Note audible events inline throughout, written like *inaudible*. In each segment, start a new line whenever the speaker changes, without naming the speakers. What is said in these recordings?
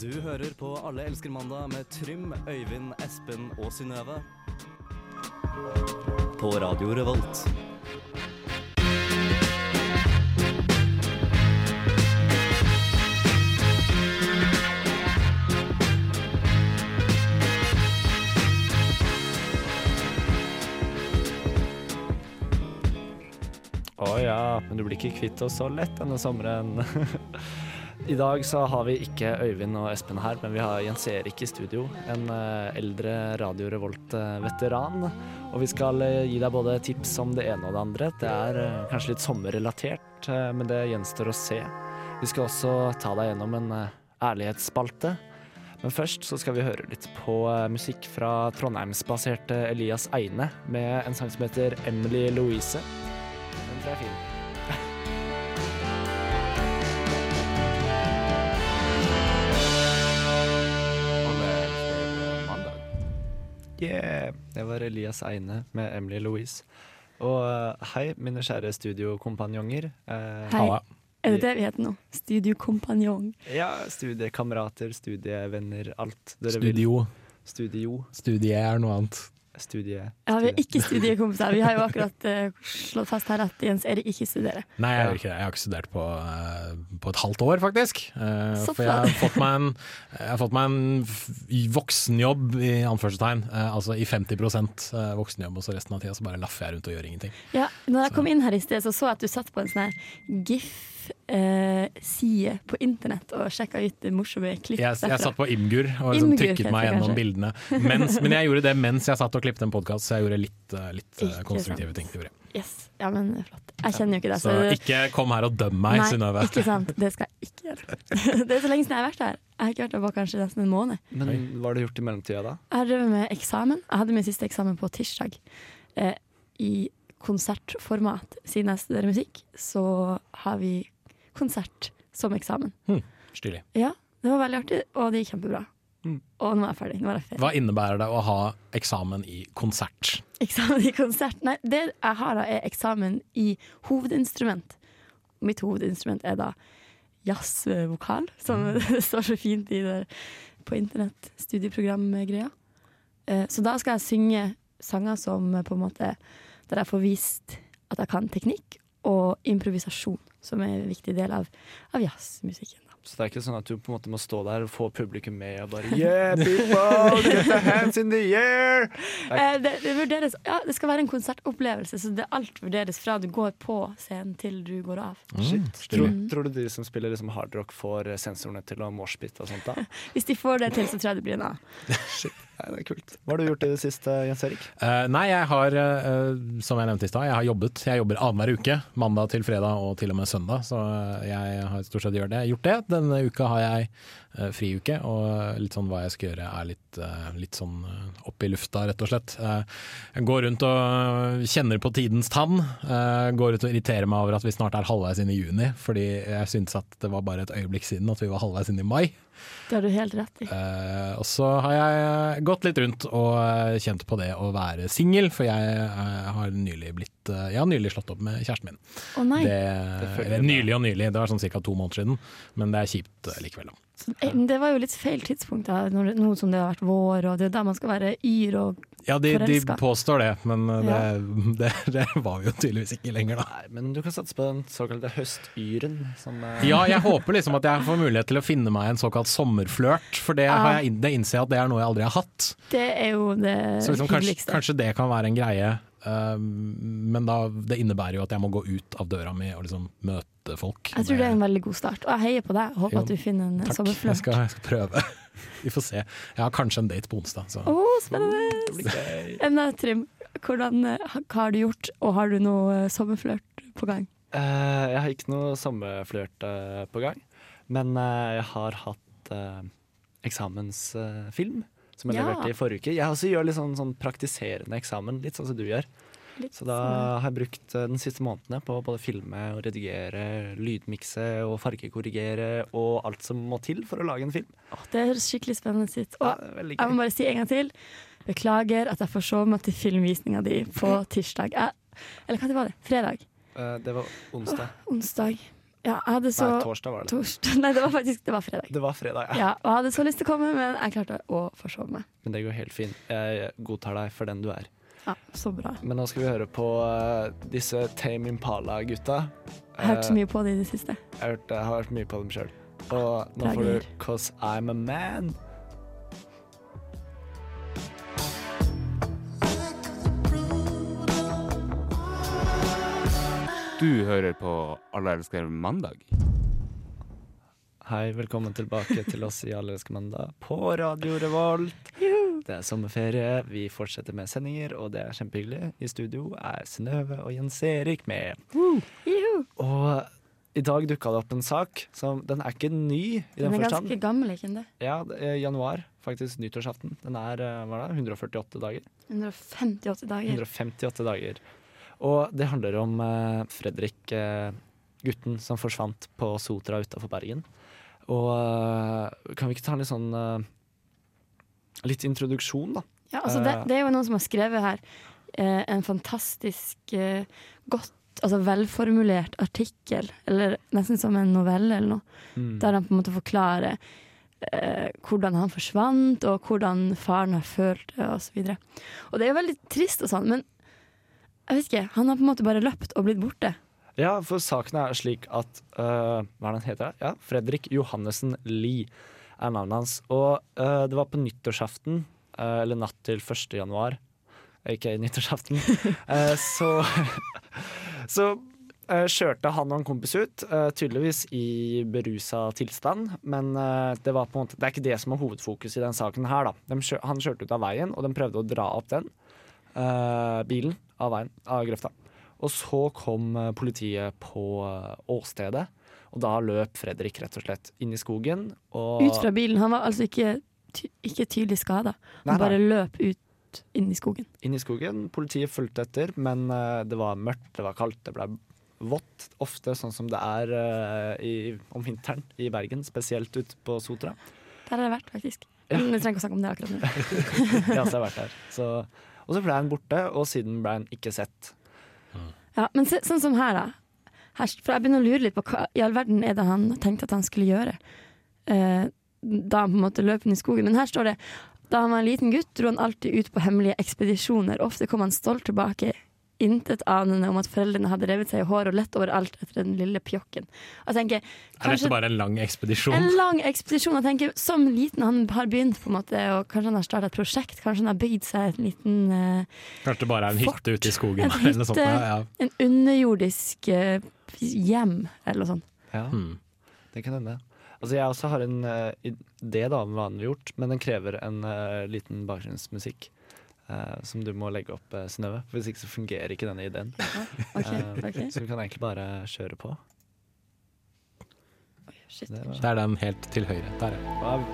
Du hører på Alle elsker mandag med Trym, Øyvind, Espen og Synnøve. På Radio Revolt.
Å ja, men du blir ikke kvitt oss så lett denne sommeren. *laughs* I dag så har vi ikke Øyvind og Espen her, men vi har Jens Erik i studio. En eh, eldre Radio Revolt-veteran. Og vi skal eh, gi deg både tips om det ene og det andre. Det er eh, kanskje litt sommerrelatert, eh, men det gjenstår å se. Vi skal også ta deg gjennom en eh, ærlighetsspalte. Men først så skal vi høre litt på eh, musikk fra trondheimsbaserte Elias Eine med en sang som heter Emily Louise. Den tror jeg er fin. Yeah! Det var Elias Eine med Emily Louise. Og eh, hei, mine kjære studiokompanjonger. Eh,
Hei. Er det det vi heter nå? Studiokompanjong.
Ja, studiekamerater, studievenner, alt dere vil.
Studio.
Studio.
Studie er noe annet.
Studie.
Ja, vi er
studie.
ikke studiekompiser. Vi har jo akkurat eh, slått fast her at Jens Erik ikke studerer.
Nei, jeg, gjør ikke det. jeg har ikke studert på, eh, på et halvt år, faktisk. Eh,
Så
for jeg har
flott.
fått meg en, jeg har fått meg en f- voksenjobb, i anførselstegn. eh, altså i 50 eh, voksenjobb, og så resten av tida så bare laffer jeg rundt og gjør ingenting.
Ja, når jeg kom inn her i sted, så så jeg at du satt på en sånn her GIF-side på internett og sjekka ut morsomme klipp
Jeg, jeg
derfra.
satt på Imgur og liksom
Imgur
trykket
heter
meg
det
gjennom
kanskje.
bildene. Mens, men jeg gjorde det mens jeg satt og klippet en podkast, så jeg gjorde litt, eh, litt eh,
Ikke
konstruktive
sant.
ting. til det.
Yes. Ja, men eh, flott. Jeg kjenner jo ikke deg,
Så ikke kom her og døm meg, Synnøve.
Nei, ikke sant. Det skal jeg ikke gjøre. *laughs* Det er så lenge siden jeg har vært her. Jeg har ikke vært her på kanskje nesten en måned.
Men hva har du gjort i mellomtida, da?
Jeg har drevet med eksamen. Jeg hadde min siste eksamen på tirsdag. Eh, I konsertformat. Siden jeg studerer musikk, så har vi konsert som eksamen.
Stilig.
Ja, det var veldig artig, og det gikk kjempebra.
Mm.
Og nå er jeg ferdig. Nå er jeg ferdig.
Hva innebærer det å ha eksamen i konsert?
Eksamen i konsert. Nei, det jeg har da, er eksamen i hovedinstrument. Mitt hovedinstrument er da jazzvokal, som det *laughs* står så fint i der på internett, studieprogramgreia. Eh, Så da skal jeg synge sanger som eh, på en måte Der jeg får vist at jeg kan teknikk og improvisasjon, som er en viktig del av, av jazzmusikken. da.
Så det er ikke sånn at du på en måte må stå der og få publikum med og *laughs* bare Yeah, people! Get the hands in the air!
Eh, Det, det, vurderes, ja, det skal være en konsertopplevelse, så det, alt vurderes fra du går på scenen til du går av.
Shit.
stilig.
Tror, tror du de som spiller liksom hardrock, får eh, sensorene til å moshpite og *laughs* sånt? da?
Hvis de får det til, så tror jeg det blir en A.
Nei, det er kult. Hva har du gjort i det siste, Jens Erik?
Eh, nei, jeg har, eh, som jeg nevnte i stad, jeg har jobbet. Jeg jobber annenhver uke. Mandag til fredag og til og med søndag. Så eh, jeg har stort sett gjort det. gjort det. Denne uka har jeg eh, friuke, og litt sånn hva jeg skal gjøre er litt, eh, litt sånn eh, opp i lufta, rett og slett. Eh, jeg går rundt og kjenner på tidens tann. eh, går ut og irriterer meg over at vi snart er halvveis inn i juni, fordi jeg syns at det var bare et øyeblikk siden at vi var halvveis inn i mai.
Det har du helt rett i.
Eh, og så har jeg eh, gått litt rundt og eh, kjent på det å være singel, for jeg, eh, har nylig blitt, eh, jeg har nylig slått opp med kjæresten min.
Å nei,
Det,
Det følger
eller
med.
nylig og nylig, det var sånn ca. to måneder siden, men det er kjipt eh, likevel. da.
så, eh, men det var jo litt feil tidspunkt, da, når, det- nå som det har vært vår, og det er jo da man skal være yr og
Ja, de, de
Forelska.
påstår det, men eh, det, *laughs* det, det var vi jo tydeligvis ikke lenger, da.
Nei, men du kan satse på den såkalte høstyren. Som, eh, *laughs*
Ja, jeg håper liksom at jeg får mulighet til å finne meg en såkalt sommerflørt, for det, har jeg, inn- det innser jeg at det er noe jeg aldri har hatt.
Det er jo det
Så liksom, kanskje,
Eh, hyggeligste.
kanskje det kan være en greie, eh, men da, det innebærer jo at jeg må gå ut av døra mi og liksom møte folk.
Jeg tror det er en veldig god start, og jeg heier på deg. Håper
Jo,
at du finner en
Takk, jeg
sommerflørt.
skal, jeg skal prøve. *laughs* Vi får se. Jeg har kanskje en date på onsdag. Så.
Å, spennende! Men da, Trym, hvordan, eh, ha- hva har du gjort, og har du noe eh, sommerflørt på gang?
eh, jeg har ikke noe sommerflørt eh, på gang, men eh, jeg har hatt eh, eksamensfilm. eh, som jeg
Ja.
leverte i forrige uke. Jeg også gjør litt sånn, sånn praktiserende eksamen, litt sånn som du gjør.
Litt
Så da har jeg brukt eh, den siste månedene på å både filme og redigere, lydmikse og fargekorrigere og alt som må til for å lage en film.
Åh, det høres skikkelig spennende ut.
Ja,
Og Um,
det er veldig
Jeg
gøy.
må bare si en gang til. Beklager at jeg forsov meg til filmvisninga di på tirsdag. Jeg, eller hva det var det? Fredag?
Eh, Det var onsdag.
Onsdag. Ja, jeg hadde så
Nei, torsdag var det.
Torsdag Nei, det var faktisk det var fredag.
Det var fredag, ja.
Ja, og jeg hadde så lyst til å komme, men jeg klarte å forsove meg.
Men det går helt fint. Jeg godtar deg for den du er.
Ja, så bra.
Men nå skal vi høre på eh, disse Tame Impala-gutta.
Jeg har
Eh,
hørt så mye på det i det siste.
Jeg har hørt, jeg har hørt mye på dem sjøl. Og nå får
Dager.
du 'Cause I'm a Man'.
Du hører på Alle elsker mandag.
Hei, velkommen tilbake til oss i Allerske mandag på Radio Revolt. Det er sommerferie, vi fortsetter med sendinger, og det er kjempehyggelig. I studio er Synnøve og Jens Erik med.
Juhu.
Og i dag dukka det opp en sak som Den er ikke ny, i
Den
den
er
forstand.
ganske gammel, ikke den det?
Ja, det er januar, faktisk nyttårsaften. Den er eh, hva er det, 148 dager.
158 dager.
158 dager. Og det handler om eh, Fredrik, eh, gutten som forsvant på Sotra utafor Bergen. Og eh, kan vi ikke ta en litt sånn eh, Litt introduksjon, da.
Ja, altså det,
Eh.
det er jo noen som har skrevet her eh, en fantastisk eh, godt Altså velformulert artikkel, eller nesten som en novelle eller noe,
Mm.
der han på en måte forklarer eh, hvordan han forsvant, og hvordan faren har følt det, og så videre. Og det er jo veldig trist og sånn, men jeg vet ikke, han har på en måte bare løpt og blitt borte.
Ja, for saken er slik at eh, Hva er det han heter? Ja, Fredrik Johannessen Lie er navnet hans. Og eh, det var på nyttårsaften, eh, eller natt til 1. januar, ikke nyttårsaften, eh, så, *laughs* så eh, kjørte han og en kompis ut, eh, tydeligvis i berusa tilstand. Men eh, det, var på en måte, det er ikke det som er hovedfokus i den saken her, da. De kjør, han kjørte ut av veien, og de prøvde å dra opp den eh, bilen av veien, av grøfta. Og så kom eh, politiet på eh, åstedet, og da løp Fredrik rett og slett inn i skogen. Og,
Ut fra bilen. Han var altså ikke, ty ikke tydelig skada.
Nei, nei.
Han bare løp ut inn i skogen.
inn i skogen. Politiet fulgte etter, men eh, det var mørkt, det var kaldt, det ble vått. Ofte sånn som det er eh, i, om vinteren i Bergen, spesielt ute på Sotra.
Der har jeg vært, faktisk.
Ja.
Men vi trenger ikke å snakke om det akkurat nå.
Ja, så jeg har vært der. Så, og så ble han borte, og siden ble han ikke sett.
Ja, men se, sånn som her, da. Her, for jeg begynner å lure litt på hva i all verden er det han tenkte at han skulle gjøre. Eh, da han på en måte løp inn i skogen. Men her står det da han var en liten gutt, dro han alltid ut på hemmelige ekspedisjoner. Ofte kom han stolt tilbake, intet anende om at foreldrene hadde revet seg i håret og lett overalt etter den lille pjokken. Og jeg tenker,
Er dette
kanskje-
bare en lang ekspedisjon?
En lang ekspedisjon. Jeg tenker, Som liten han har begynt, på en måte, og kanskje han har starta et prosjekt. Kanskje han har bygd seg et liten, eh,
Kanskje det bare er en
Fort.
hytte ute i skogen?
En
*laughs* eller noe sånt,
hytte.
ja, ja.
en underjordisk eh, hjem, eller noe sånt.
Ja, det kan hende. Altså jeg også har en eh, idé da, om hva han har gjort, men den krever en eh, liten bakgrunnsmusikk. eh, som du må legge opp, uh, Synnøve. for Hvis ikke så fungerer ikke denne ideen.
Ok,
Eh,
ok.
Så vi kan egentlig bare kjøre på.
Shit,
Det var-
Det er den helt til høyre. Der, ja.
Wow.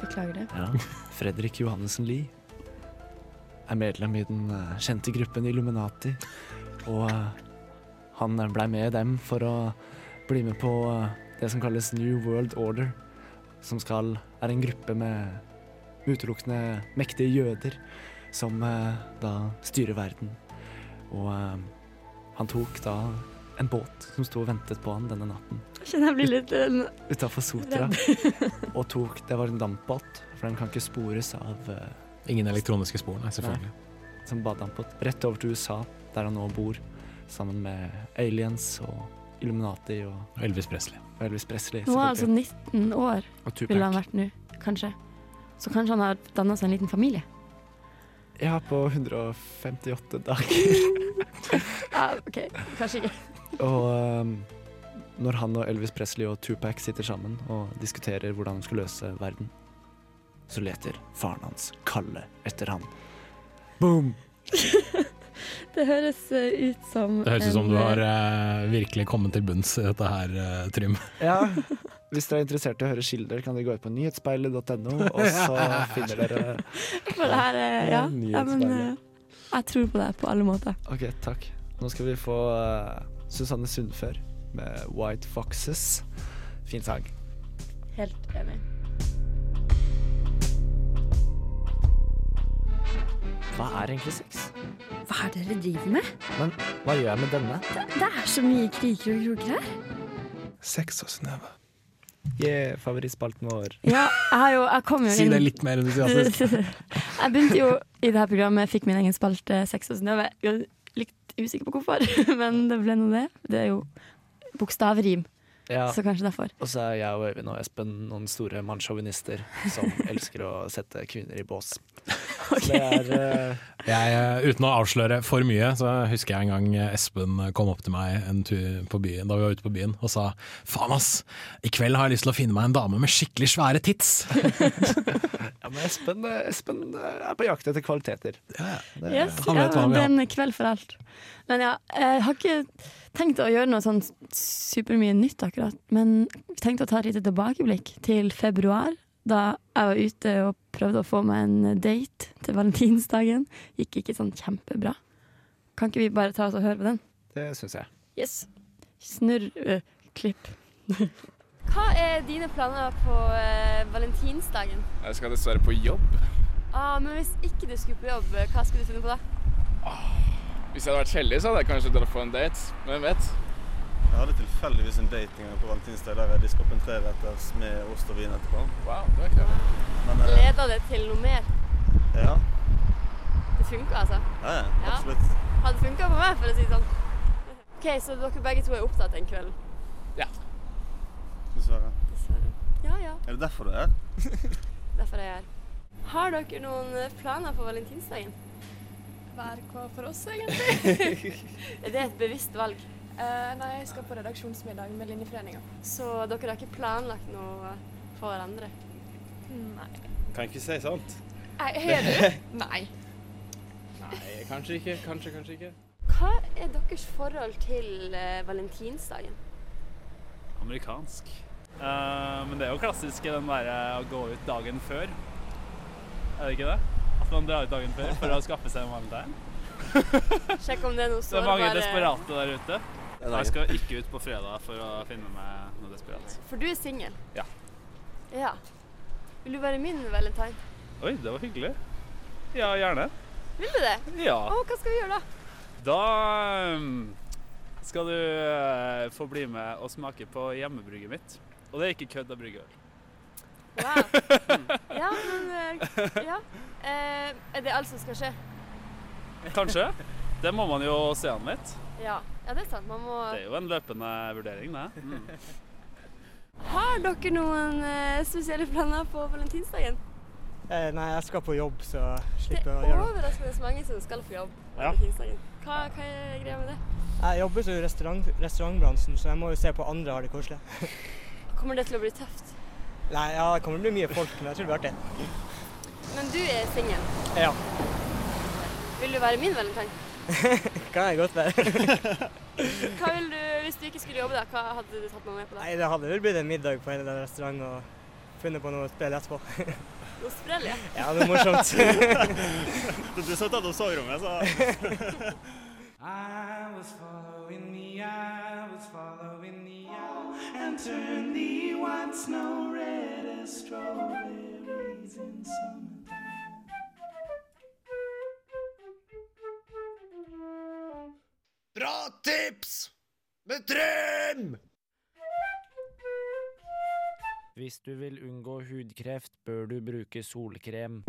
beklager det.
Ja. Fredrik Johannessen Lie er medlem i den eh, kjente gruppen Illuminati. Og eh, han blei med dem for å bli med på eh, det som kalles New World Order, som skal er en gruppe med utelukkende mektige jøder som eh, da styrer verden. Og eh, han tok da en båt som sto og ventet på han denne natten
Jeg kjenner jeg blir litt eh,
utafor Sotra. Og tok Det var en dampbåt, for den kan ikke spores av eh,
Ingen elektroniske spor, nei, selvfølgelig.
som badedampbåt. Rett over til USA, der han nå bor, sammen med aliens og Illuminati og
Og Elvis Presley.
Elvis Presley.
*laughs* Nå er han altså
selvfølgelig.
19 år,
og
ville han
Tupac.
vært nå, kanskje. Så kanskje han har danna seg en liten familie.
Ja, på 158 dager. *laughs*
Ja, ok, kanskje ikke.
Og ehm, når han og Elvis Presley og Tupac sitter sammen og diskuterer hvordan de skal løse verden, så leter faren hans, Kalle, etter han. Boom!
Det høres eh, ut som
Det høres ut
en,
som du har
eh,
eh, virkelig kommet til bunns i dette her, eh, Trym.
Ja. Hvis dere er interessert i å høre kilder, kan dere gå inn på *laughs* nyhetsspeilet.no, og så finner dere
For det her, eh, ja. ja men, eh, jeg tror på deg på alle måter.
Ok, takk. Nå skal vi få eh, Susanne Sundfør med White Foxes. Fin sang.
Helt enig.
Hva er egentlig sex?
Hva er det dere driver med?
Hva gjør jeg med denne?
Det er så mye kriker og kroker her.
Sex og Synnøve.
Yeah, favorittspalten vår.
Ja, jeg, har jo, jeg kom jo
Si
inn
det litt
*laughs*
mer entusiastisk.
Jeg begynte jo i det her programmet, fikk min egen spalte Sex og Synnøve. Jeg er Litt usikker på hvorfor, *laughs* men det ble nå det. Det er jo bokstavrim,
Ja,
så kanskje derfor.
og så er jeg og Øyvind og Espen noen store mannssjåvinister som elsker å sette kvinner i bås. Så det er eh,
Jeg, eh, uten å avsløre for mye, så husker jeg en gang eh, Espen kom opp til meg en tur på byen, da vi var ute på byen og sa faen ass, i kveld har jeg lyst til å finne meg en dame med skikkelig svære
*laughs*
tits.
Ja, men Espen, eh, Espen eh, er på jakt etter kvaliteter.
Yes,
Han
ja,
vet hva vi
men det er en kveld for alt. Men ja, jeg har ikke tenkt å gjøre noe sånn supermye nytt akkurat, men tenkte å ta et lite tilbakeblikk til februar, da jeg var ute og prøvde å få meg en date til valentinsdagen. Gikk ikke sånn kjempebra. Kan ikke vi bare ta oss og høre på den?
Det syns jeg.
Yes. Snurr eh, klipp. *laughs* Hva er dine planer på eh, valentinsdagen?
Jeg skal dessverre på jobb.
Ah, men Hvis ikke du skulle på jobb, eh, hva skulle du finne på da?
Hvis jeg hadde vært heldig, så hadde jeg kanskje dratt på en date. Hvem vet?
Jeg hadde tilfeldigvis en dating på valentinsdag der jeg diska opp en treretters med ost og vin etterpå.
Wow, det var ikke det.
Men eh,
Leda det til noe mer?
ja,
Det funka, altså.
ja, ja,
Ja.
absolutt.
Hadde funka på meg, for å si det sånn. *laughs* OK, så dere begge to er opptatt den kvelden?
Dessverre.
Dessverre. Ja ja,
Er det derfor du er her?
derfor er jeg her. Har dere noen eh, planer for valentinsdagen?
Hver hva for oss, *laughs* egentlig.
Er det et bevisst valg?
Eh, nei, jeg skal på redaksjonsmiddag med Linjeforeninga.
Så dere har ikke planlagt noe for hverandre?
Nei.
Kan ikke si sant.
Nei, Har
*laughs*
du? Nei.
Nei, kanskje ikke. Kanskje, kanskje ikke.
Hva er deres forhold til eh, valentinsdagen?
Amerikansk. Eh, men det er jo klassisk i den derre å gå ut dagen før. Er det ikke det? At man drar ut dagen før for å skaffe seg en valentine.
Sjekk om det er noe
Det er
sårbare
mange desperate der ute. Jeg skal ikke ut på fredag for å finne meg noe desperat.
For du er singel?
Ja.
Ja. Vil du være min valentine?
Oi, det var hyggelig. Ja, gjerne.
Vil du det?
Ja.
Å, hva skal vi gjøre da?
Da ehm, skal du eh, få bli med og smake på hjemmebrygget mitt. Og det er ikke kødd av bryggeøl.
Wow.
*laughs*
Ja, men eh, Ja. Eh, er det alt som skal skje?
Kanskje. Det må man jo se an litt.
Ja. ja, det er sant. Man må
Det er jo en løpende vurdering, det. Mm.
Har dere noen eh, spesielle planer på valentinsdagen?
Eh, nei, jeg skal på jobb, så
Det
eh,
er overraskende mange som skal på jobb på
Ja.
valentinsdagen. Hva, hva er greia med det?
Jeg jobber i restaurantbransjen, så jeg må jo se på andre har det koselig.
Kommer det til å bli tøft?
Nei, ja, det kommer til å bli mye folk, men jeg tror det blir artig.
Men du er singel.
Ja.
Vil du være min valentine?
Kan jeg godt være. *laughs*
Hva vil du, Hvis du ikke skulle jobbe, da, hva hadde du tatt meg med på da?
Nei, det hadde vel blitt en middag på en eller annen restaurant og funnet på noe å spille etterpå. *laughs*
Noe sprell, ja.
Ja, det er morsomt.
Du, du satt og soverommet, så
Hvis du vil unngå hudkreft, bør du bruke solkrem.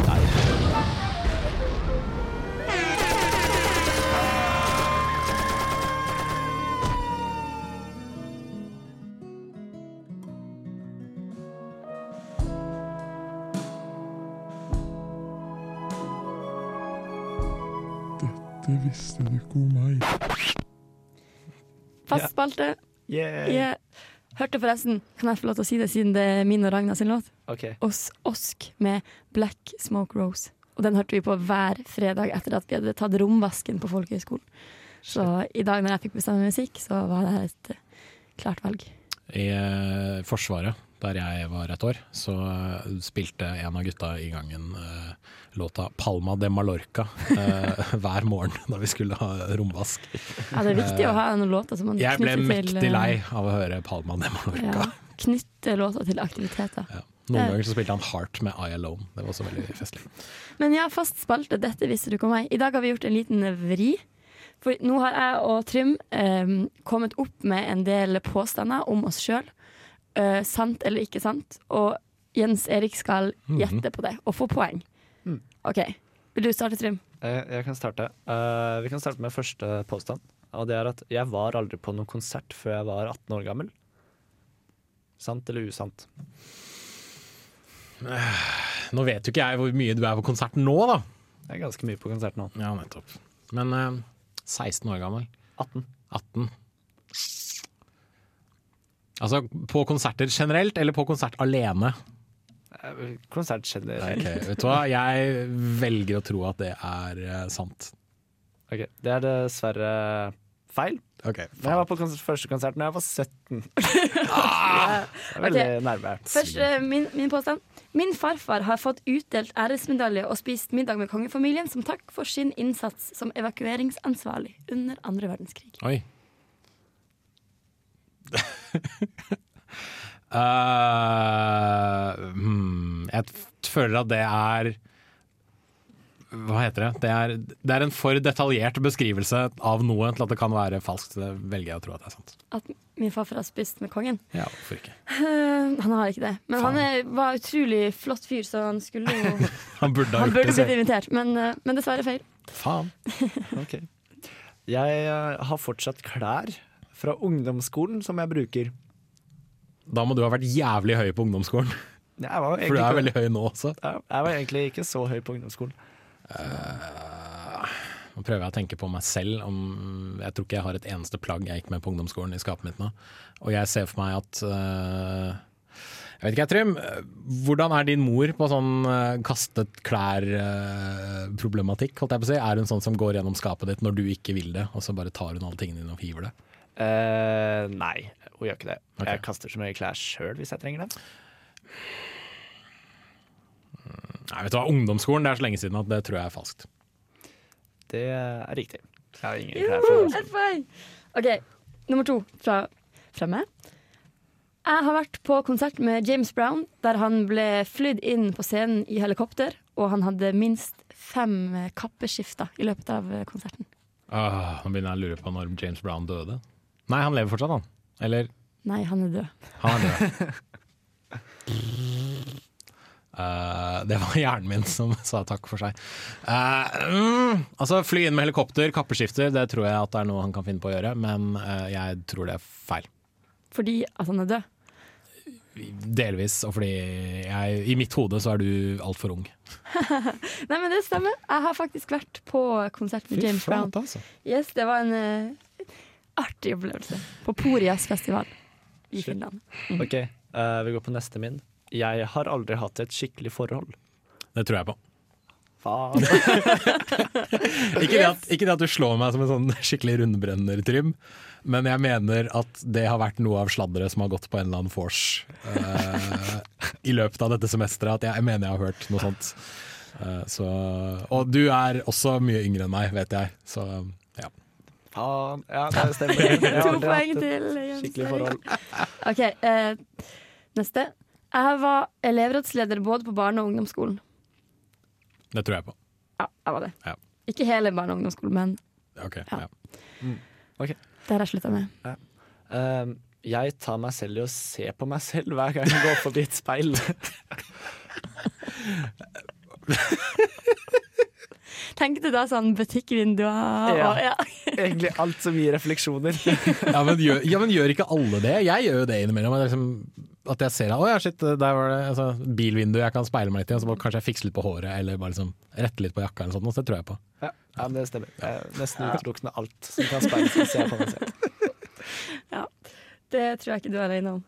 Det visste du ikke om meg.
Fast spalte.
Yeah.
Jeg hørte forresten, kan jeg få lov til å si det siden det er min og Ragna sin låt?
Ok.
Os Osk med Black Smoke Rose. Og den hørte vi på hver fredag etter at vi hadde tatt romvasken på folkehøyskolen. Så i dag når jeg fikk bestemme musikk, så var det her et eh, klart valg.
I eh, Forsvaret, der jeg var et år, så eh, spilte en av gutta i gangen eh, låta 'Palma de Mallorca' eh, *laughs* hver morgen da vi skulle ha romvask.
Ja, det er viktig å ha noen låter som man
Eh, Jeg ble
knytter til
mektig
eh,
lei av å høre 'Palma de Mallorca'.
Ja, knytte låter til aktiviteter.
Ja. Noen
Ja.
ganger så spilte han Heart med I Alone. Det var også veldig festlig.
Men jeg har fast spalte 'Dette visste du ikke om meg'. I dag har vi gjort en liten vri. For nå har jeg og Trym eh, kommet opp med en del påstander om oss sjøl. Eh, sant eller ikke sant. Og Jens Erik skal
Mhm.
gjette på det og få poeng.
Mm.
OK. Vil du starte, Trym?
Jeg, jeg kan starte. Eh, vi kan starte med første påstand. Og det er at jeg var aldri på noen konsert før jeg var 18 år gammel. Sant eller usant?
Nå vet jo ikke jeg hvor mye du er på konsert nå, da.
Jeg er ganske mye på konsert nå.
Ja, nettopp. Men eh, 16 år gammel.
18.
18. Altså på konserter generelt, eller på konsert alene?
Eh, Konsert skjedde
Ok, vet du hva? Jeg velger å tro at det er eh, sant.
Ok, Det er dessverre feil.
Ok,
Men jeg var på konsert, første konsert da jeg var
*laughs*
17. Det er veldig
Ok.
nærme.
Først eh, min, min påstand. Min farfar har fått utdelt æresmedalje og spist middag med kongefamilien som takk for sin innsats som evakueringsansvarlig under andre verdenskrig.
*laughs* Oi. Eh, hmm, jeg t- føler at det er Hva heter det? Det er, det er en for detaljert beskrivelse av noe til at det kan være falskt. Det velger jeg å tro at det er sant.
At min farfar har spist med kongen.
Ja, hvorfor ikke?
Eh, han har ikke det. Men han er, var utrolig flott fyr, så han skulle jo
Han burde ha
Han
gjort
burde
det
blitt
selv.
invitert, men, eh, men dessverre feil.
Faen.
Ok. Jeg eh, har fortsatt klær fra ungdomsskolen som jeg bruker.
Da må du ha vært jævlig høy på ungdomsskolen.
Jeg var jo
For du er
egentlig
veldig
ikke-
høy nå også.
Ja, Jeg var egentlig ikke så høy på ungdomsskolen.
Nå prøver jeg å tenke på meg selv. Om, mm, jeg tror ikke jeg har et eneste plagg jeg gikk med på ungdomsskolen i skapet mitt nå. Og jeg ser for meg at øh, Jeg vet ikke, jeg, Trym. øh, Hvordan er din mor på sånn øh, kastet klær-problematikk, holdt jeg på å si? Er hun sånn som går gjennom skapet ditt når du ikke vil det, og så bare tar hun alle tingene dine og hiver det?
Eh, nei, hun gjør ikke det. Jeg kaster så mye klær sjøl hvis jeg trenger dem.
Nei, vet du hva, ungdomsskolen, det er så lenge siden at det tror jeg er falskt.
Det er riktig. Jeg har ingen klær fra
Joho,
ungdomsskolen.
Et poeng! OK, nummer to fra, fra meg. Jeg har vært på konsert med James Brown, der han ble flydd inn på scenen i helikopter, og han hadde minst fem eh, kappeskifter i løpet av eh, konserten.
Åh, nå begynner jeg å lure på når James Brown døde. Nei, han lever fortsatt, han. Eller
Nei, han er død.
Han er død. Eh, det var hjernen min som *laughs* sa takk for seg. Eh, mm, altså Fly inn med helikopter, kappeskifter, det tror jeg at det er noe han kan finne på å gjøre. Men eh, jeg tror det er feil.
Fordi at han er død.
Delvis, og fordi jeg, i mitt hode så er du altfor ung.
Nei, men det stemmer. Jeg har faktisk vært på konsert med
Fy
James
flate,
Brown.
altså.
Yes, det var en eh, artig opplevelse. På Porias festival i Finland.
Ok, eh, vi går på neste min. Jeg har aldri hatt et skikkelig forhold.
Det tror jeg på.
Faen.
Ikke det, at, ikke det at du slår meg som en sånn *laughs* skikkelig rundbrenner-trym, men jeg mener at det har vært noe av sladderet som har gått på en eller annen vors eh, i løpet av dette semesteret. At jeg, jeg mener jeg har hørt noe sånt. Eh, så, og du er også mye yngre enn meg, vet jeg. Så ja.
Faen. *laughs* Ja, det stemmer.
*laughs*
Jeg har aldri
To
hatt
poeng
et
til eh, Jens
Skikkelig
Erik.
forhold.
OK, eh, neste. Jeg var elevrådsleder både på barne- og ungdomsskolen.
Det tror jeg på.
Ja, jeg var det.
Ja.
Ikke hele barne- og ungdomsskolen, men
Ok,
Ja.
ja.
Ok.
det har jeg slutta med.
Ja. Ehm, jeg tar meg selv i å se på meg selv hver gang jeg går forbi et speil.
Tenkte da sånn butikkvinduer og ah, ja.
Egentlig alt som gir refleksjoner.
Ja, men gjør, ja, men gjør ikke alle det? Jeg gjør jo det innimellom. At jeg, liksom, at jeg ser at, å, ja, shit, der var det altså, bilvindu jeg kan speile meg litt i, og så må- kanskje jeg fikse litt på håret, eller bare liksom, rette litt på jakka, eller noe sånt. Det tror jeg på.
Ja, ja men det stemmer. Eh, nesten utelukkende alt som kan speiles i å se på meg selv.
ja. Det tror jeg ikke du er alene om.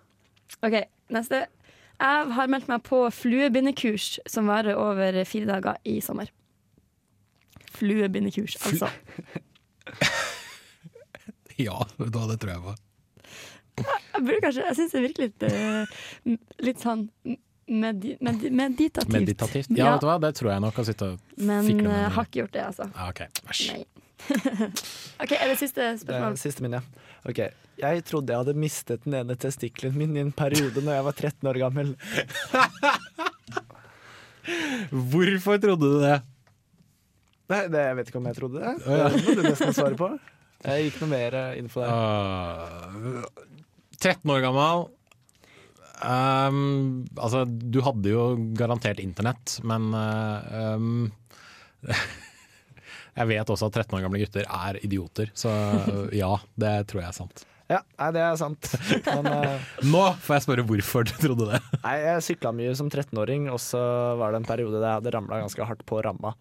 OK, neste. Jeg har meldt meg på fluebindekurs som varer over fire dager i sommer. Fluebindekurs, altså.
Ja, vet du hva, det tror jeg på.
Jeg burde kanskje, jeg syns det virker litt, eh, m- litt sånn medi, medi, meditativt.
Meditativt. Ja, vet du hva, det tror jeg nok. Å sitte og
Men
fikle med
eh,
noe.
har ikke gjort det, altså.
Ja, ok, æsj.
Nei. *laughs* OK, er det siste
Det er
spørsmål?
siste min, ja. Ok. Jeg trodde jeg hadde mistet den ene testikkelen min i en periode når jeg var 13 år gammel.
*laughs* Hvorfor trodde du det?
Nei, det, jeg vet ikke om jeg trodde det.
Å, ja.
Det må du nesten svare på. Jeg gikk noe mer eh, inn for deg.
Ah, 13 år gammel. Um, altså, du hadde jo garantert internett, men eh, um, *laughs* Jeg vet også at 13 år gamle gutter er idioter, så
*laughs*
ja, det tror jeg er sant.
Ja, nei, det er sant. Men eh,
Nå får jeg spørre hvorfor du trodde det.
nei, jeg sykla mye som 13-åring, og så var det en periode der jeg hadde ramla ganske hardt på ramma.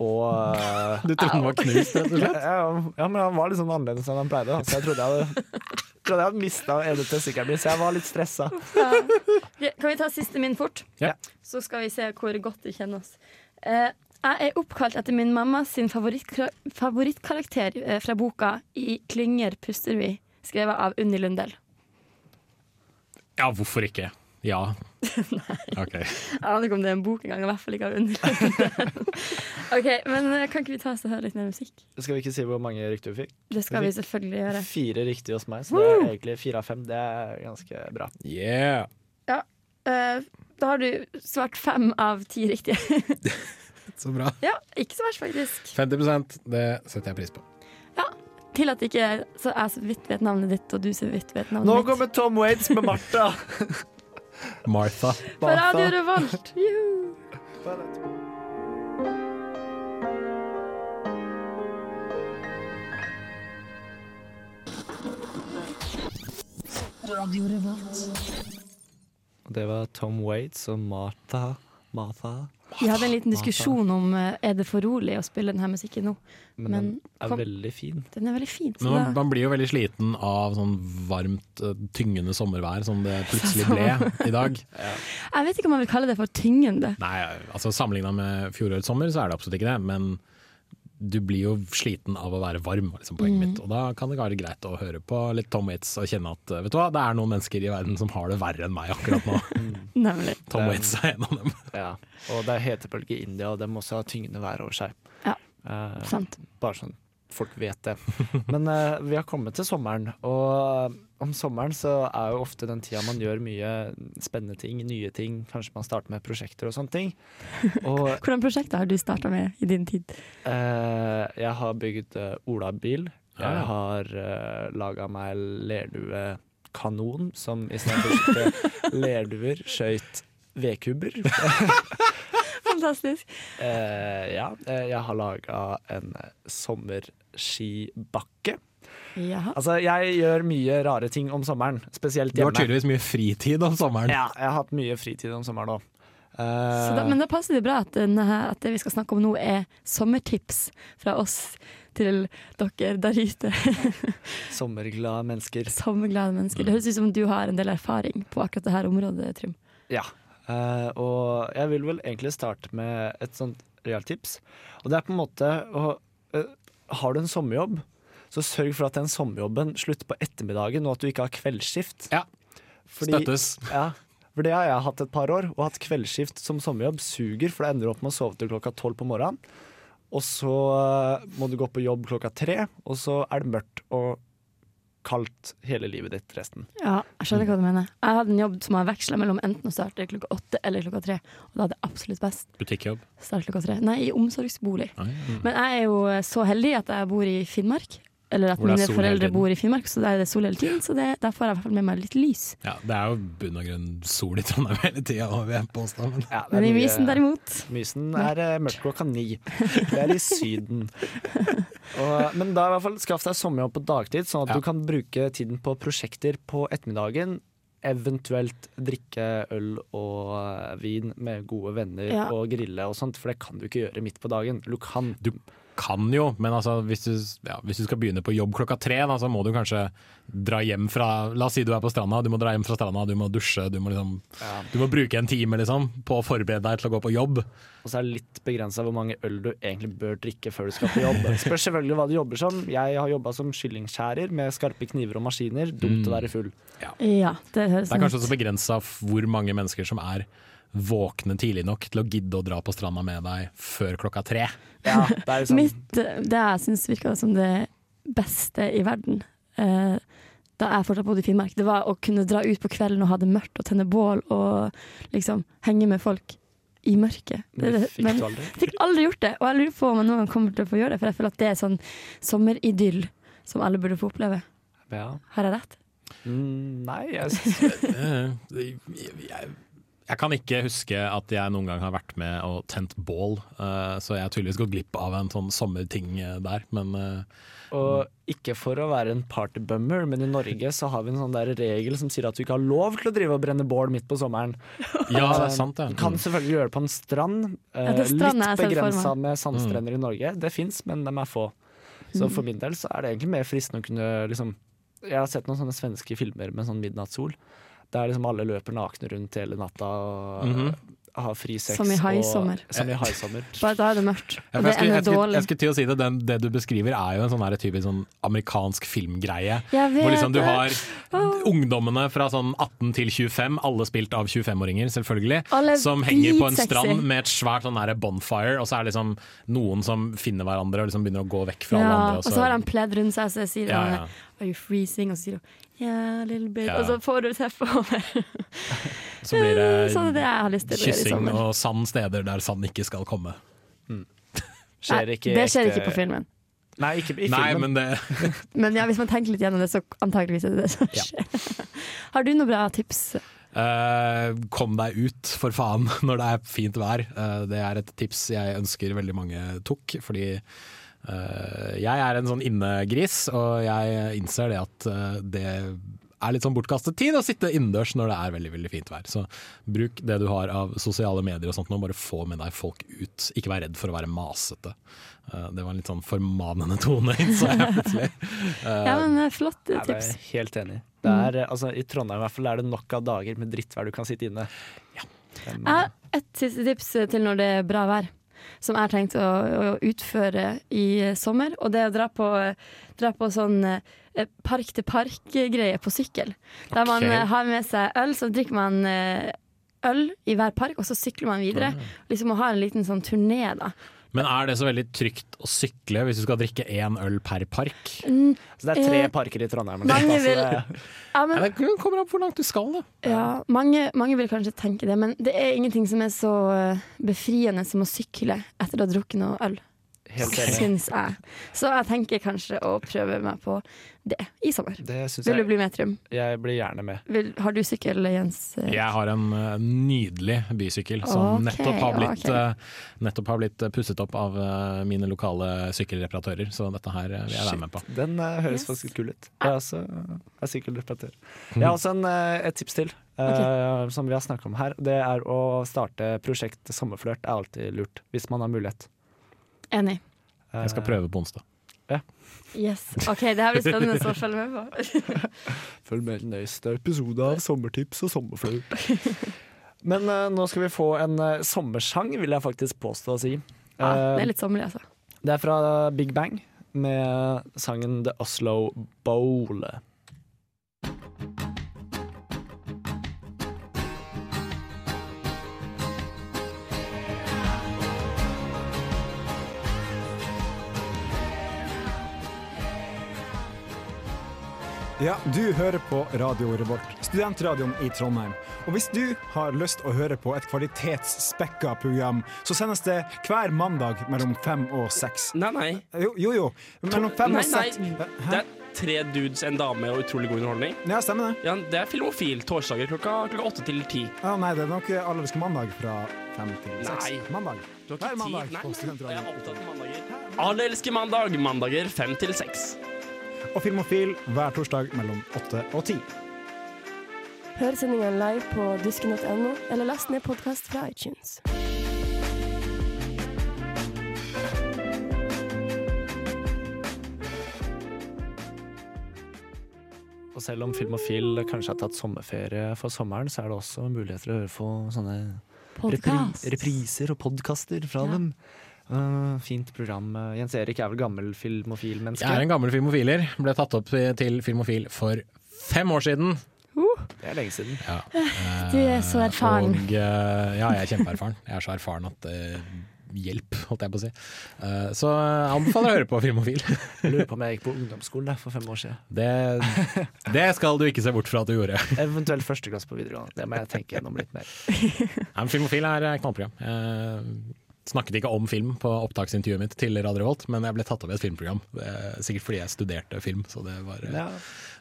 Og
*laughs*
eh,
Du trodde den var knust, rett og slett?
Ja, ja, men han var litt sånn annerledes enn han pleide, da, så jeg trodde jeg hadde Trodde jeg hadde mista ene testikkelen min, så jeg var litt stressa.
Ok, Kan vi ta siste min fort?
Ja.
Så skal vi se hvor godt du kjenner oss. Eh, jeg er oppkalt etter min mamma sin favorittkra- favorittkarakter eh, fra boka 'I klynger puster vi', skrevet av Unni Lundell.
Ja, hvorfor ikke? Ja.
*laughs*
Ok.
Jeg aner ikke om det er en bok engang, og i hvert fall ikke av Unni Lundell. *laughs* ok, men eh, kan ikke vi ta oss og høre litt mer musikk?
Skal vi ikke si hvor mange rykter vi fikk?
Det skal vi selvfølgelig gjøre.
Fire riktige hos meg, så det er egentlig fire av fem. Det er ganske bra.
Yeah.
Ja, eh, da har du svart fem av ti riktige.
Så bra.
ja, ikke så verst, faktisk.
50 det setter jeg pris på.
Til at ikke så jeg så vidt vet navnet ditt, og du så vidt vet navnet
Nå
mitt.
kommer Tom Waits med Martha.
Martha.
På Radio Revolt! Juhu!
Radio Revolt.
Det var Tom Waits og Martha. Martha.
Vi hadde en liten diskusjon om eh, er det for rolig å spille denne musikken nå.
Men den er
kom-
veldig fin.
Den er veldig fin.
Men
Så
man,
da,
man blir jo veldig sliten av sånn varmt, eh, tyngende sommervær som det plutselig ble i dag.
jeg vet ikke om man vil kalle det for tyngende.
Nei, altså Sammenligna med fjorårets sommer, så er det absolutt ikke det. Men du blir jo sliten av å være varm, var liksom
Mm.
poenget mitt. Og da kan det være greit å høre på litt Tom Waits og kjenne at eh, vet du hva, det er noen mennesker i verden som har det verre enn meg akkurat nå.
Nemlig.
Tom Waits er en av dem.
Ja. Og det er hetebølge i India, og de også har tyngende vær over seg.
Ja,
Eh,
sant.
Bare sånn folk vet
*laughs*
det. Men eh, vi har kommet til sommeren, og eh, om sommeren så er jo ofte den tida man gjør mye spennende ting, nye ting. Kanskje man starter med prosjekter og sånne
*laughs*
ting. Og
Hvordan prosjekter har du starta med i din tid?
Eh, jeg har bygd eh, olabil.
Ja.
Jeg har uh, laga meg lerduekanon, som istedenfor å
*laughs*
skyte lerduer, skøyt vedkubber.
Fantastisk.
Eh, ja. eh, jeg har laga en eh, sommerskibakke.
Jaha.
Altså, jeg gjør mye rare ting om sommeren, spesielt
Du har
hjemme.
tydeligvis mye fritid om sommeren.
Ja, jeg har hatt mye fritid om sommeren Eh, òg.
Så da, men da passer det bra at, denne, her- at det vi skal snakke om nå, er sommertips fra oss til dere der ute. *laughs*
Sommerglade mennesker.
Sommerglade mennesker. Det høres ut som du har en del erfaring på akkurat det her området, Trym.
Ja, eh, og jeg vil vel egentlig starte med et sånt realt tips. Og det er på en måte å eh, Har du en sommerjobb, så sørg for at den sommerjobben slutter på ettermiddagen, og at du ikke har kveldsskift.
Ja, støttes.
Ja, for det har jeg hatt et par år, og hatt kveldsskift som sommerjobb suger, for det ender du opp med å sove til klokka tolv på morgenen. Og så eh, må du gå på jobb klokka tre, og så er det mørkt og kaldt hele livet ditt resten.
Ja, jeg skjønner hva du mener. Jeg hadde en jobb som jeg veksla mellom enten å starte klokka åtte eller klokka tre. Og da hadde jeg absolutt best
Butikkjobb.
å starte klokka tre. Nei, i omsorgsbolig.
Nei, mm.
Men jeg er jo så heldig at jeg bor i Finnmark. Eller at
Hvor det er
mine
sol hele
foreldre
tiden.
bor i Finnmark, så der er det sol hele tiden. Så det, der får jeg i hvert fall med meg litt lys.
Ja, det er jo bunn og grunn sol i Trondheim hele tida, vil jeg påstå. Men.
det er
Men i
mye-
mysen derimot
Mysen er eh, mørk klokka ni. Det er i *laughs* Syden. Og, eh, men da i hvert fall skaff deg sommerjobb på dagtid, sånn at du kan bruke tiden på prosjekter på ettermiddagen. Eventuelt drikke øl og eh, vin med gode venner
Ja.
og grille og sånt, for det kan du ikke gjøre midt på dagen. Du kan.
Du kan jo, men altså, hvis, du, ja, hvis du skal begynne på jobb klokka tre, da, så må du kanskje dra hjem fra La oss si du er på stranda, du må dra hjem fra stranda, du må dusje, du må, liksom, du må bruke en time liksom, på å forberede deg til å gå på jobb.
Og så er det litt begrensa hvor mange øl du egentlig bør drikke før du skal på jobb. Spørs selvfølgelig hva du jobber som. Jeg har jobba som kyllingskjærer med skarpe kniver og Mm. maskiner. Dumt å være full.
Ja, det høres
Det er
sånn
kanskje
ut.
også begrensa hvor mange mennesker som er våkne tidlig nok til å gidde å dra på stranda med deg før klokka tre.
Ja, det er sånn,
Sånn.
Mitt, eh, det jeg syns virka som det beste i verden eh, da jeg fortsatt bodde i Finnmark, det var å kunne dra ut på kvelden og ha det mørkt og tenne bål og liksom henge med folk i mørket.
Men det
er
fikk du aldri.
Fikk aldri gjort det, og jeg lurer på om jeg noen gang kommer til å få gjøre det, for jeg føler at det er sånn sommeridyll som alle burde få oppleve.
Ja.
Har jeg rett?
Mm, nei, jeg
Eh, jeg, jeg, jeg kan ikke huske at jeg noen gang har vært med og tent bål, eh, så jeg har tydeligvis gått glipp av en sånn sommerting eh, der, men eh,
*laughs*
*laughs*
Og ikke for å være en partybummer, men i Norge så har vi en sånn der regel som sier at du ikke har lov til å drive og brenne bål midt på sommeren.
Ja, det er
Eh,
sant, det.
Du kan selvfølgelig gjøre det på en strand. eh,
Mm. Ja, det er Mm. strand jeg
litt
ser for
begrensa
meg.
med sandstrender i Norge. Det fins, men dem er få. Så
Mm.
for min del så er det egentlig mer fristende å kunne liksom Jeg har sett noen sånne svenske filmer med sånn midnattssol. Der liksom alle løper nakne rundt hele natta og
Mhm.
har fri sex.
Som i haisommer.
og- Som i haisommer.
Bare da er det mørkt.
Ja,
Og det
for jeg, skulle,
ender
jeg, skulle,
dårlig.
jeg skulle til å si det, den, det du beskriver er jo en sånn her typisk sånn amerikansk filmgreie.
Jeg vet
Hvor liksom du
det.
har ungdommene fra sånn 18 til 25, alle spilt av 25-åringer selvfølgelig,
Alle er
som henger på en
dritsexy.
strand med et svært sånn her bonfire, og så er det liksom noen som finner hverandre og liksom begynner å gå vekk fra alle
ja,
andre. altså.
og så har han pledd rundt seg, så jeg sier
Ja,
han,
ja.
Are you freezing? Og så sier hun yeah, little bit.
Ja.
Og så får du teppet over.
så blir det
*laughs* Så det er det jeg har lyst til å gjøre i
kyssing
sommer.
og sand steder der sand ikke skal komme.
Skjer
Nei,
ikke
det skjer
ekte-
ikke på filmen.
Nei, ikke i filmen.
Nei, men det
Men ja, hvis man tenker litt gjennom det, så antakeligvis er det det som
Ja.
skjer. *laughs* Har du noen bra tips?
Eh, kom deg ut, for faen, *laughs* når det er fint vær. Eh, det er et tips jeg ønsker veldig mange tok, fordi eh, jeg er en sånn innegris, og jeg innser det at eh, det er litt sånn bortkastet tid å sitte innendørs når det er veldig veldig fint vær. Så bruk det du har av sosiale medier og sånt nå, bare få med deg folk ut. Ikke vær redd for å være masete. Eh, det var en litt sånn formanende tone, *laughs* innså jeg plutselig. Eh,
Ja, men eh, Flott eh,
Nei, men
tips.
Jeg er helt enig. Det er, eh, altså, I Trondheim i hvert fall er det nok av dager med drittvær du kan sitte inne.
Jeg har et siste tips eh, til når det er bra vær, som jeg har tenkt å, å utføre i eh, sommer. Og det er å dra på, eh, dra på sånn eh, park til park-greie på sykkel. Der man
Ok.
eh, har med seg øl, så drikker man eh, øl i hver park, og så sykler man videre.
Ah.
Liksom å ha en liten sånn turné, da.
Men er det så veldig trygt å sykle hvis du skal drikke én øl per park?
Mm,
Så Altså, det er tre
eh,
parker i Trondheim.
mange
altså,
vil-
det-
Ja, men,
det kommer an på hvor langt du skal, da.
Ja, mange, mange vil kanskje tenke det, men det er ingenting som er så eh, befriende som å sykle etter å ha drukket noe øl.
Helt enig.
Syns jeg. Så jeg tenker kanskje å prøve meg på det i sommer.
Det syns
vil
jeg-
du bli med, Trym?
Jeg blir gjerne med.
Vil, har du sykkel, Jens?
Jeg har en eh, nydelig bysykkel som
Ok,
nettopp, har
ok.
blitt, eh, nettopp har blitt eh, pusset opp av eh, mine lokale sykkelreparatører, så dette her eh, vil jeg være med på.
Shit, Den eh, høres faktisk kul ut. Jeg er også jeg er sykkelreparatør. Jeg
Mm.
har også en, eh, et tips til, eh, som vi har snakka om her. Det er å starte prosjekt Sommerflørt er alltid lurt, hvis man har mulighet.
Enig.
Jeg skal prøve på onsdag.
Yes. OK, det her blir spennende så følg med
*laughs*
på.
Følg med i neste episode av Sommertips og sommerflaut.
*laughs*
Men eh, nå skal vi få en eh, sommersang, vil jeg faktisk påstå å si.
Ja, det
Eh,
er litt sommerlig, altså.
det er fra Big Bang med sangen The Oslo Bowl.
Ja, du hører på Radio Revolt, studentradioen i Trondheim. Og hvis du har lyst å høre på et kvalitetsspekka program, så sendes det hver mandag mellom fem og seks.
Nei, nei.
Jo, jo. jo. Mellom fem
nei,
og
nei.
seks.
Det er tre dudes, en dame og utrolig god underholdning.
Ja, stemmer det.
Ja, det er Filmofil, torsdager klokka, klokka åtte til ti.
Ja, nei, det er nok allerske mandag fra fem til seks.
Nei.
Mandag.
Du har ikke
Hver
tid.
mandag
Nei,
på
Jeg er
studentradioen.
opptatt av mandager. Alle elsker mandag. Mandager fem til seks.
Og Filmofil hver torsdag mellom åtte og ti.
Hør sendingen live på dusken.no, eller last ned podkast fra iTunes.
Og selv om Filmofil kanskje har tatt sommerferie for sommeren, så er det også muligheter å høre på sånne repri
Podcast.
repriser og podkaster fra
Ja.
dem. Eh, fint program. Eh, Jens Erik er vel gammel filmofil menneske?
Jeg er en gammel filmofiler. Ble tatt opp i- til Filmofil for fem år siden.
Det er lenge siden.
Ja.
*laughs* Du er så
Eh,
erfaren.
Og, eh, ja, jeg er kjempeerfaren. Jeg er så erfaren at eh, Hjelp, holdt jeg på å si. Eh, så jeg anbefaler å høre på Filmofil.
Jeg lurer på om jeg gikk på ungdomsskolen der for fem år siden.
Det, det skal du ikke se bort fra at du gjorde.
Eventuelt første klasse på videregående. Det må jeg tenke gjennom litt mer.
Nei, men Filmofil er et knallprogram. Jeg snakket ikke om film på opptaksintervjuet mitt til Radio Revolt, men jeg ble tatt opp i et filmprogram. Det er Sikkert fordi jeg studerte film, så det, var, eh,
Ja.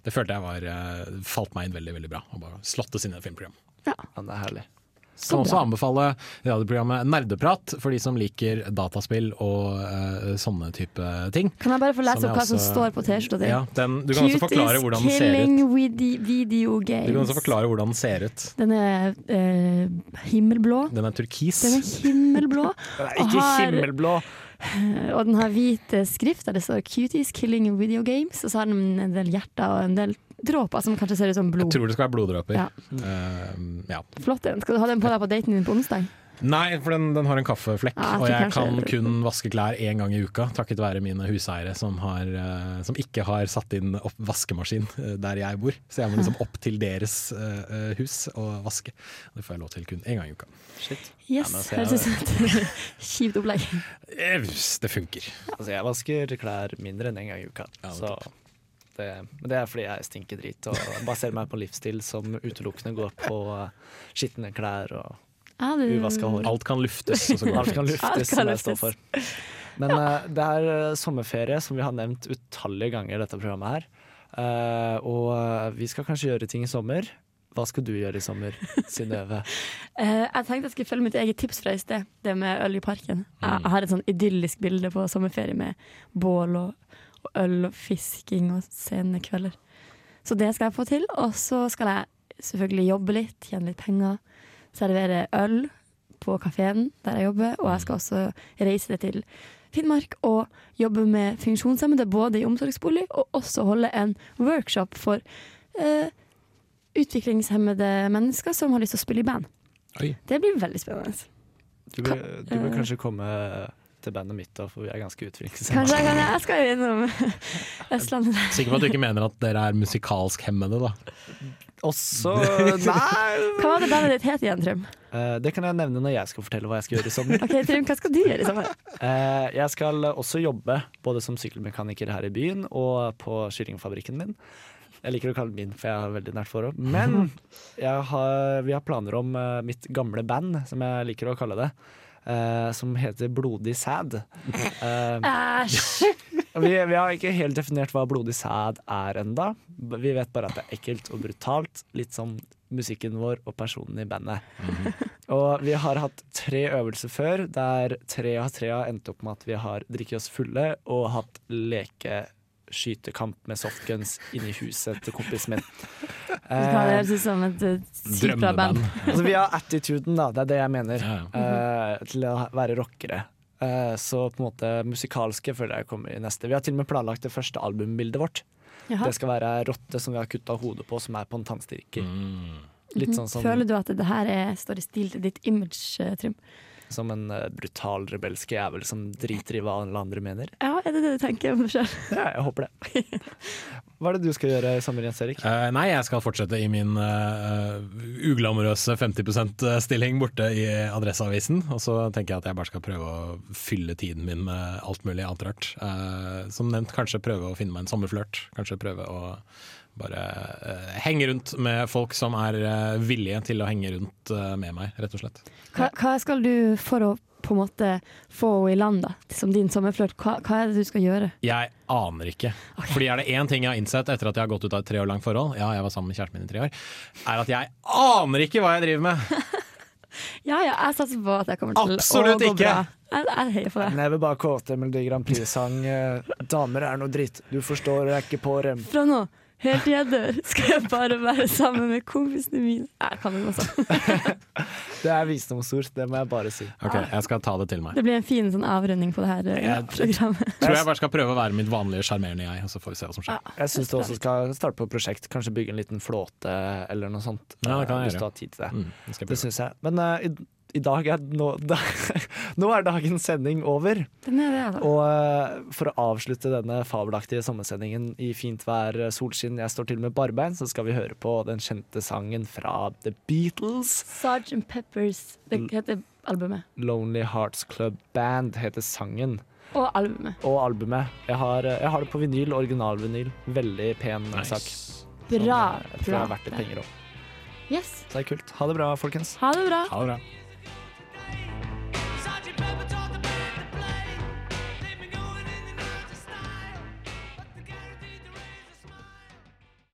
det følte jeg var eh, falt meg inn veldig veldig bra. Å bare slottes inn i et filmprogram.
Men det er herlig.
Kan også anbefale radioprogrammet Nerdeprat for de som liker dataspill og eh, sånne type ting.
Kan jeg bare få lese
Som jeg
opp hva som
også-
står på T-skjorta di?
Ja, den- du kan også forklare hvordan den ser ut.
killing vidi- video games.
Du kan også forklare hvordan den ser ut.
Den er eh, himmelblå.
Den er turkis.
Den er *laughs* himmelblå. og har- Og den har hvit eh, skrift der det står 'Cuties killing video games'. Og så har den en del hjerter og en del dråper som kanskje ser ut som blod.
Tror det skal være bloddråper.
Ja.
Eh, ja.
Flott den. Skal du ha den på deg på daten din på onsdag?
Nei, for den, den har en kaffeflekk,
Ja, jeg
og jeg
tror
kan
kanskje-
kun vaske klær én gang i uka, takket være mine huseiere som, har, eh, som ikke har satt inn opp vaskemaskin eh, der jeg bor. Så jeg må liksom opp til deres eh, eh, hus og vaske. Det får jeg lov til kun én gang i uka.
Yes,
Ja, men
høres
så
ut som et *laughs* kjipt opplegg.
Eh, Det funker.
Altså, jeg vasker klær mindre enn én en gang i uka. så det, men det er fordi jeg stinker drit og baserer meg på livsstil som utelukkende går på eh, skitne klær og
Ja, det-
uvaska hår.
Alt kan luftes, og så går det
Alt kan
fint.
luftes,
Alt kan
som jeg står
luftes.
for. Men eh, det er eh, sommerferie, som vi har nevnt utallige ganger i dette programmet her. Eh, og eh, vi skal kanskje gjøre ting i sommer. Hva skal du gjøre i sommer, Synnøve?
Eh, jeg tenkte jeg skulle følge mitt eget tips fra i sted, det med øl i parken. Jeg, jeg har et sånn idyllisk bilde på sommerferie med bål og, og øl og fisking og sene kvelder. Så det skal jeg få til. Og så skal jeg selvfølgelig jobbe litt, tjene litt penger. Servere øl på kafeen der jeg jobber, og jeg skal også reise det til Finnmark og jobbe med funksjonshemmede både i omsorgsbolig og også holde en workshop for eh, utviklingshemmede mennesker som har lyst til å spille i band.
Oi.
Det blir veldig spennende.
Du bør, du bør
eh,
kanskje komme til bandet mitt, da, for vi er ganske utviklingshemmede.
Kanskje jeg, kan, jeg skal jo innom *laughs* Østlandet.
Sikker på at du ikke mener at dere er musikalsk hemmede, da.
Også Nei!
Hva var det bandet ditt het igjen, Trym?
Eh, Det kan jeg nevne når jeg skal fortelle hva jeg skal gjøre i sommer.
Ok, Trym, hva skal du gjøre i sommer?
Eh, Jeg skal også jobbe både som sykkelmekaniker her i byen og på kyllingfabrikken min. Jeg liker å kalle den min, for jeg har veldig nært forhold. Men jeg har, vi har planer om eh, mitt gamle band, som jeg liker å kalle det, eh, som heter Blodig sæd. Eh,
Æsj!
Vi, vi har ikke helt definert hva blodig sæd er enda. Vi vet bare at det er ekkelt og brutalt. Litt som musikken vår og personen i bandet. Og vi har hatt tre øvelser før der tre av tre har endt opp med at vi har drikket oss fulle og hatt lekeskytekamp med softguns inni huset til kompisen min.
Hva det høres ut som et eh, sykt bra band.
altså, vi har attituden, da. Det er det jeg mener. eh, til å være rockere. Eh, så på en måte musikalske føler jeg kommer i neste. Vi har til og med planlagt det første albumbildet vårt.
Jaha.
Det skal være ei rotte som vi har kutta hodet på, som er på en tannstikker.
Mm.
Litt sånn som,
Mhm. Føler du at det her er, står i stil til ditt image, eh, Trym?
som en eh, brutal rebelsk jævel som driter i hva alle andre mener.
Ja, er det det du tenker om deg sjøl?
Ja, jeg håper det. Hva er det du skal gjøre i sommer, Jens Erik?
Eh, nei, jeg skal fortsette i min eh, uglamorøse 50 %-stilling borte i Adresseavisen. Og så tenker jeg at jeg bare skal prøve å fylle tiden min med alt mulig annet rart. Eh, som nevnt, kanskje prøve å finne meg en sommerflørt. Kanskje prøve å bare eh, henge rundt med folk som er eh, villige til å henge rundt eh, med meg, rett og slett.
Hva, hva skal du for å på en måte få henne i land, da, som din sommerflørt? Hva, hva er det du skal gjøre?
Jeg aner ikke. Fordi er det én ting jeg har innsett etter at jeg har gått ut av et tre år langt forhold, ja, jeg var sammen med kjæresten min i tre år, er at jeg aner ikke hva jeg driver med!
Ja ja, jeg satser på at jeg kommer til
Absolutt
å gå
ikke.
bra. Jeg, jeg heier på deg.
Never bare kåte Melodi Grand Prix-sang. eh, Damer er noe dritt, du forstår, jeg er ikke på dem.
Fra nå, helt til jeg dør, skal jeg bare være sammen med kompisene mine. Jeg kan det også.
Det er visdomsord, det må jeg bare si.
Ok, jeg skal ta det til meg.
Det blir en fin sånn avrunding på det her eh,
Jeg-
programmet.
Tror jeg bare skal prøve å være mitt vanlige sjarmerende jeg, og så får vi se hva som skjer.
Jeg syns du også skal starte på et prosjekt, kanskje bygge en liten flåte eller noe sånt.
Ja, det kan jeg Mm.
eh, hvis
gjøre.
du har tid til det.
det skal jeg
det syns jeg. Men eh, i, i dag er nå da, *laughs* Nå er dagens sending over.
Den er det, altså. da.
Og eh, for å avslutte denne fabelaktige sommersendingen i fint vær, eh, solskinn, jeg står til med barbein, så skal vi høre på den kjente sangen fra The Beatles.
Sgt. Peppers.
Mm.
Det heter albumet.
Lonely Hearts Club Band heter sangen.
Og albumet.
Og albumet. Jeg har, eh, jeg har det på vinyl, originalvinyl. Veldig pen sak.
Bra
Sånn, Jeg tror det er verdt litt
plate.
penger òg.
Yes.
Så det er kult. Ha det bra, folkens.
Ha det bra.
Ha det bra.